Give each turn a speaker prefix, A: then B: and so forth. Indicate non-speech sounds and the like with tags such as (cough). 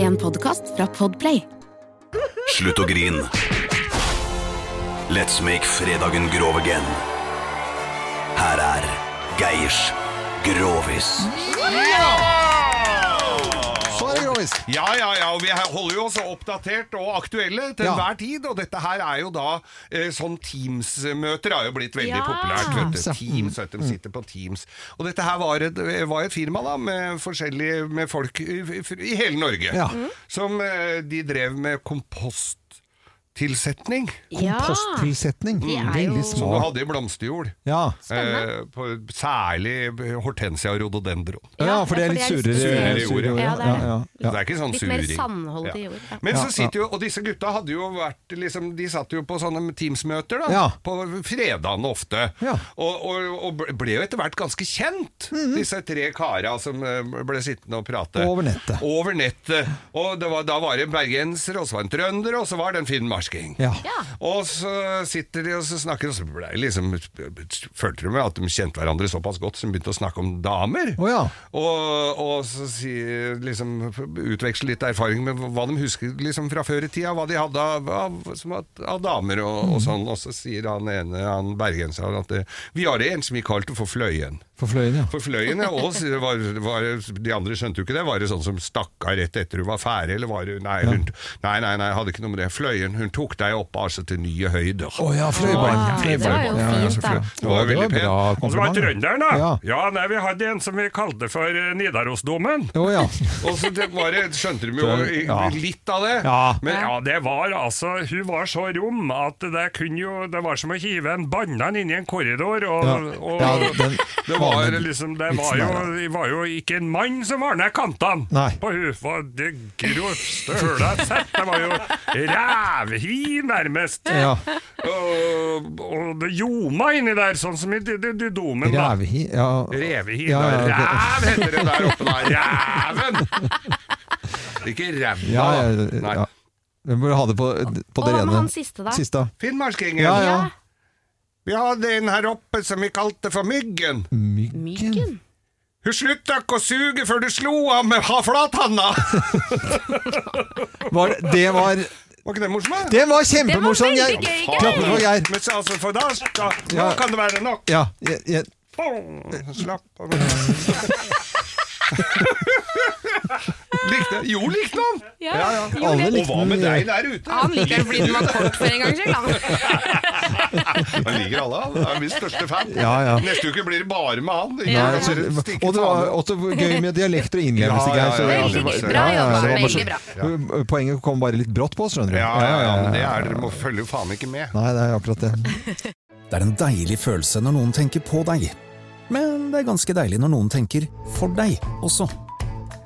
A: En podkast fra Podplay.
B: Slutt å grin. Let's make fredagen grov again. Her er Geirs Grovis.
C: Så er det grovis.
D: Ja, ja, ja, og vi her holder jo oss oppdatert og aktuelle til
C: Ja.
D: enhver tid, og dette her er jo da eh, sånn Teams-møter har jo blitt veldig
E: Ja.
D: populært, vet du.
C: Teams, ja. Mm.
D: Teams, vet du, de sitter på Teams. Og dette her var et, var et firma da, med forskjellige, med folk i, i hele Norge,
C: Ja.
D: som eh, de drev med komposttilsetning,
C: Komposttilsetning.
E: Det er jo-
C: Veldig
D: som du
C: smart.
D: hadde i blomsterjord.
C: Ja.
D: Eh, på, særlig hortensia og rhododendron.
C: ja, for det er litt surere.
D: surere
C: surere
D: jord, ja.
E: Ja,
C: ord,
E: det er det.
C: Ja,
D: Så
C: ja,
D: Det
C: ja.
D: er ikke sånn
E: Litt mer
D: suring.
E: sandholdig
D: Ja.
E: jord, ja.
D: Men
C: Ja,
D: så sitter jo, og disse gutta hadde jo vært liksom, De satt jo på sånne Teams-møter da
C: Ja.
D: På fredagene ofte
C: Ja. Mhm.
D: og, og, og ble jo etter hvert ganske kjent Disse tre kara som eh, ble sittende og prate
C: Over nettet.
D: Over nettet. Og det var, da var det en bergenser, og så var det en trønder Og så var det en finnmarsking
C: Ja.
D: Og så sitter de og så snakker Og så ble det liksom, følte de med at de kjente hverandre såpass godt Som begynte å snakke om damer
C: Å ja.
D: og, og så si, liksom, utveksle litt erfaring med hva de husker liksom, fra før i tida, hva de hadde av, av, som at, av damer og, og sånn. Og så sier han ene, han bergenseren, at eh, vi har en som vi kalte for Fløyen.
C: For fløyen, ja.
D: For Fløyen, ja, og så var, var, de andre skjønte jo ikke det. Var det sånn som stakk av rett etter hun var ferdig, eller var det Nei, hun, nei, nei, nei, hadde ikke noe med det. Fløyen, hun tok deg opp altså til nye høyder.
C: Å ja, fløybarn.
E: Ja, det var jo
C: Ja, ja,
E: fint, da.
C: selvfølgelig.
D: Det var jo
C: Ja,
D: veldig
C: bra
D: pent. Og så var
C: kompliment.
D: det trønderen, da.
C: Ja.
D: Ja, nei, vi hadde en som vi kalte for eh, Nidarosdomen.
C: Å ja.
D: (laughs) Og så det var, det- skjønte de jo i-
C: Ja.
D: litt av det.
C: Ja.
D: Men ja, det var altså Hun var så rom at det kunne jo Det var som å hive en banan inn i en korridor. Og,
C: Ja.
D: og
C: Ja, den-
D: det var
C: den
D: liksom Det
C: vitsen
D: var
C: der,
D: jo, det var jo ikke en mann som var ned kantene
C: Nei.
D: på hun. Det var det grovste hølet jeg har sett. Det var jo rævhi, nærmest.
C: Ja.
D: Og, og det ljoma inni der, sånn som i d- d- d- domen. da.
C: Revehi. Ja.
D: Revehi.
C: Ja, ja, ok.
D: Ræv heter det der oppe,
C: (laughs)
D: da. Ræven! Ikke ræva.
C: Ja, ja,
D: da. Nei.
C: ja. Vi burde ha det på, på
E: Og hva
C: det
E: med
C: rene.
E: han siste, da?
C: Siste.
D: Finnmarkingen.
C: Ja, ja.
E: Ja.
D: Vi hadde en her oppe som vi kalte for Myggen.
C: Myggen.
E: Myggen?
D: Hun slutta ikke å suge før du slo av med ha- flathanna!
C: Var, det var
D: Var ikke det morsomt? da?
C: Det var kjempemorsomt!
E: veldig
C: Geir.
E: gøy, Geir.
C: Klapper for Geir.
D: Men så, altså, for da, da, nå
C: Ja.
D: kan det være nok.
C: Ja. Jeg, jeg,
D: Pong! Slapp
C: (laughs)
D: av. (laughs) likte, jo, likte han!
E: Ja, Jo,
C: alle
E: det-
D: Og
C: likte
D: hva med
C: den.
D: deg der ute?
E: Han liker den fordi den var kort for en gang skyld. han.
D: Han liker alle, han. Han er min største fan.
C: Ja, ja.
D: Neste uke blir det bare med han. Ikke?
C: Nei,
D: Han
C: så,
D: bare stikker
C: og det var
D: faen.
C: også gøy med dialekter og innlevelse.
D: Ja, ja,
C: Geir, så-
D: ja, ja.
C: så-
D: Veldig
E: bra jobba,
C: så-
E: veldig bra.
C: Ja. Poenget kom bare litt brått på oss, skjønner du.
D: ja, ja, ja, men det er dere må følge faen ikke med.
C: Nei, det er akkurat det.
F: Det er en deilig følelse når noen tenker på deg. Men det er ganske deilig når noen tenker for deg også.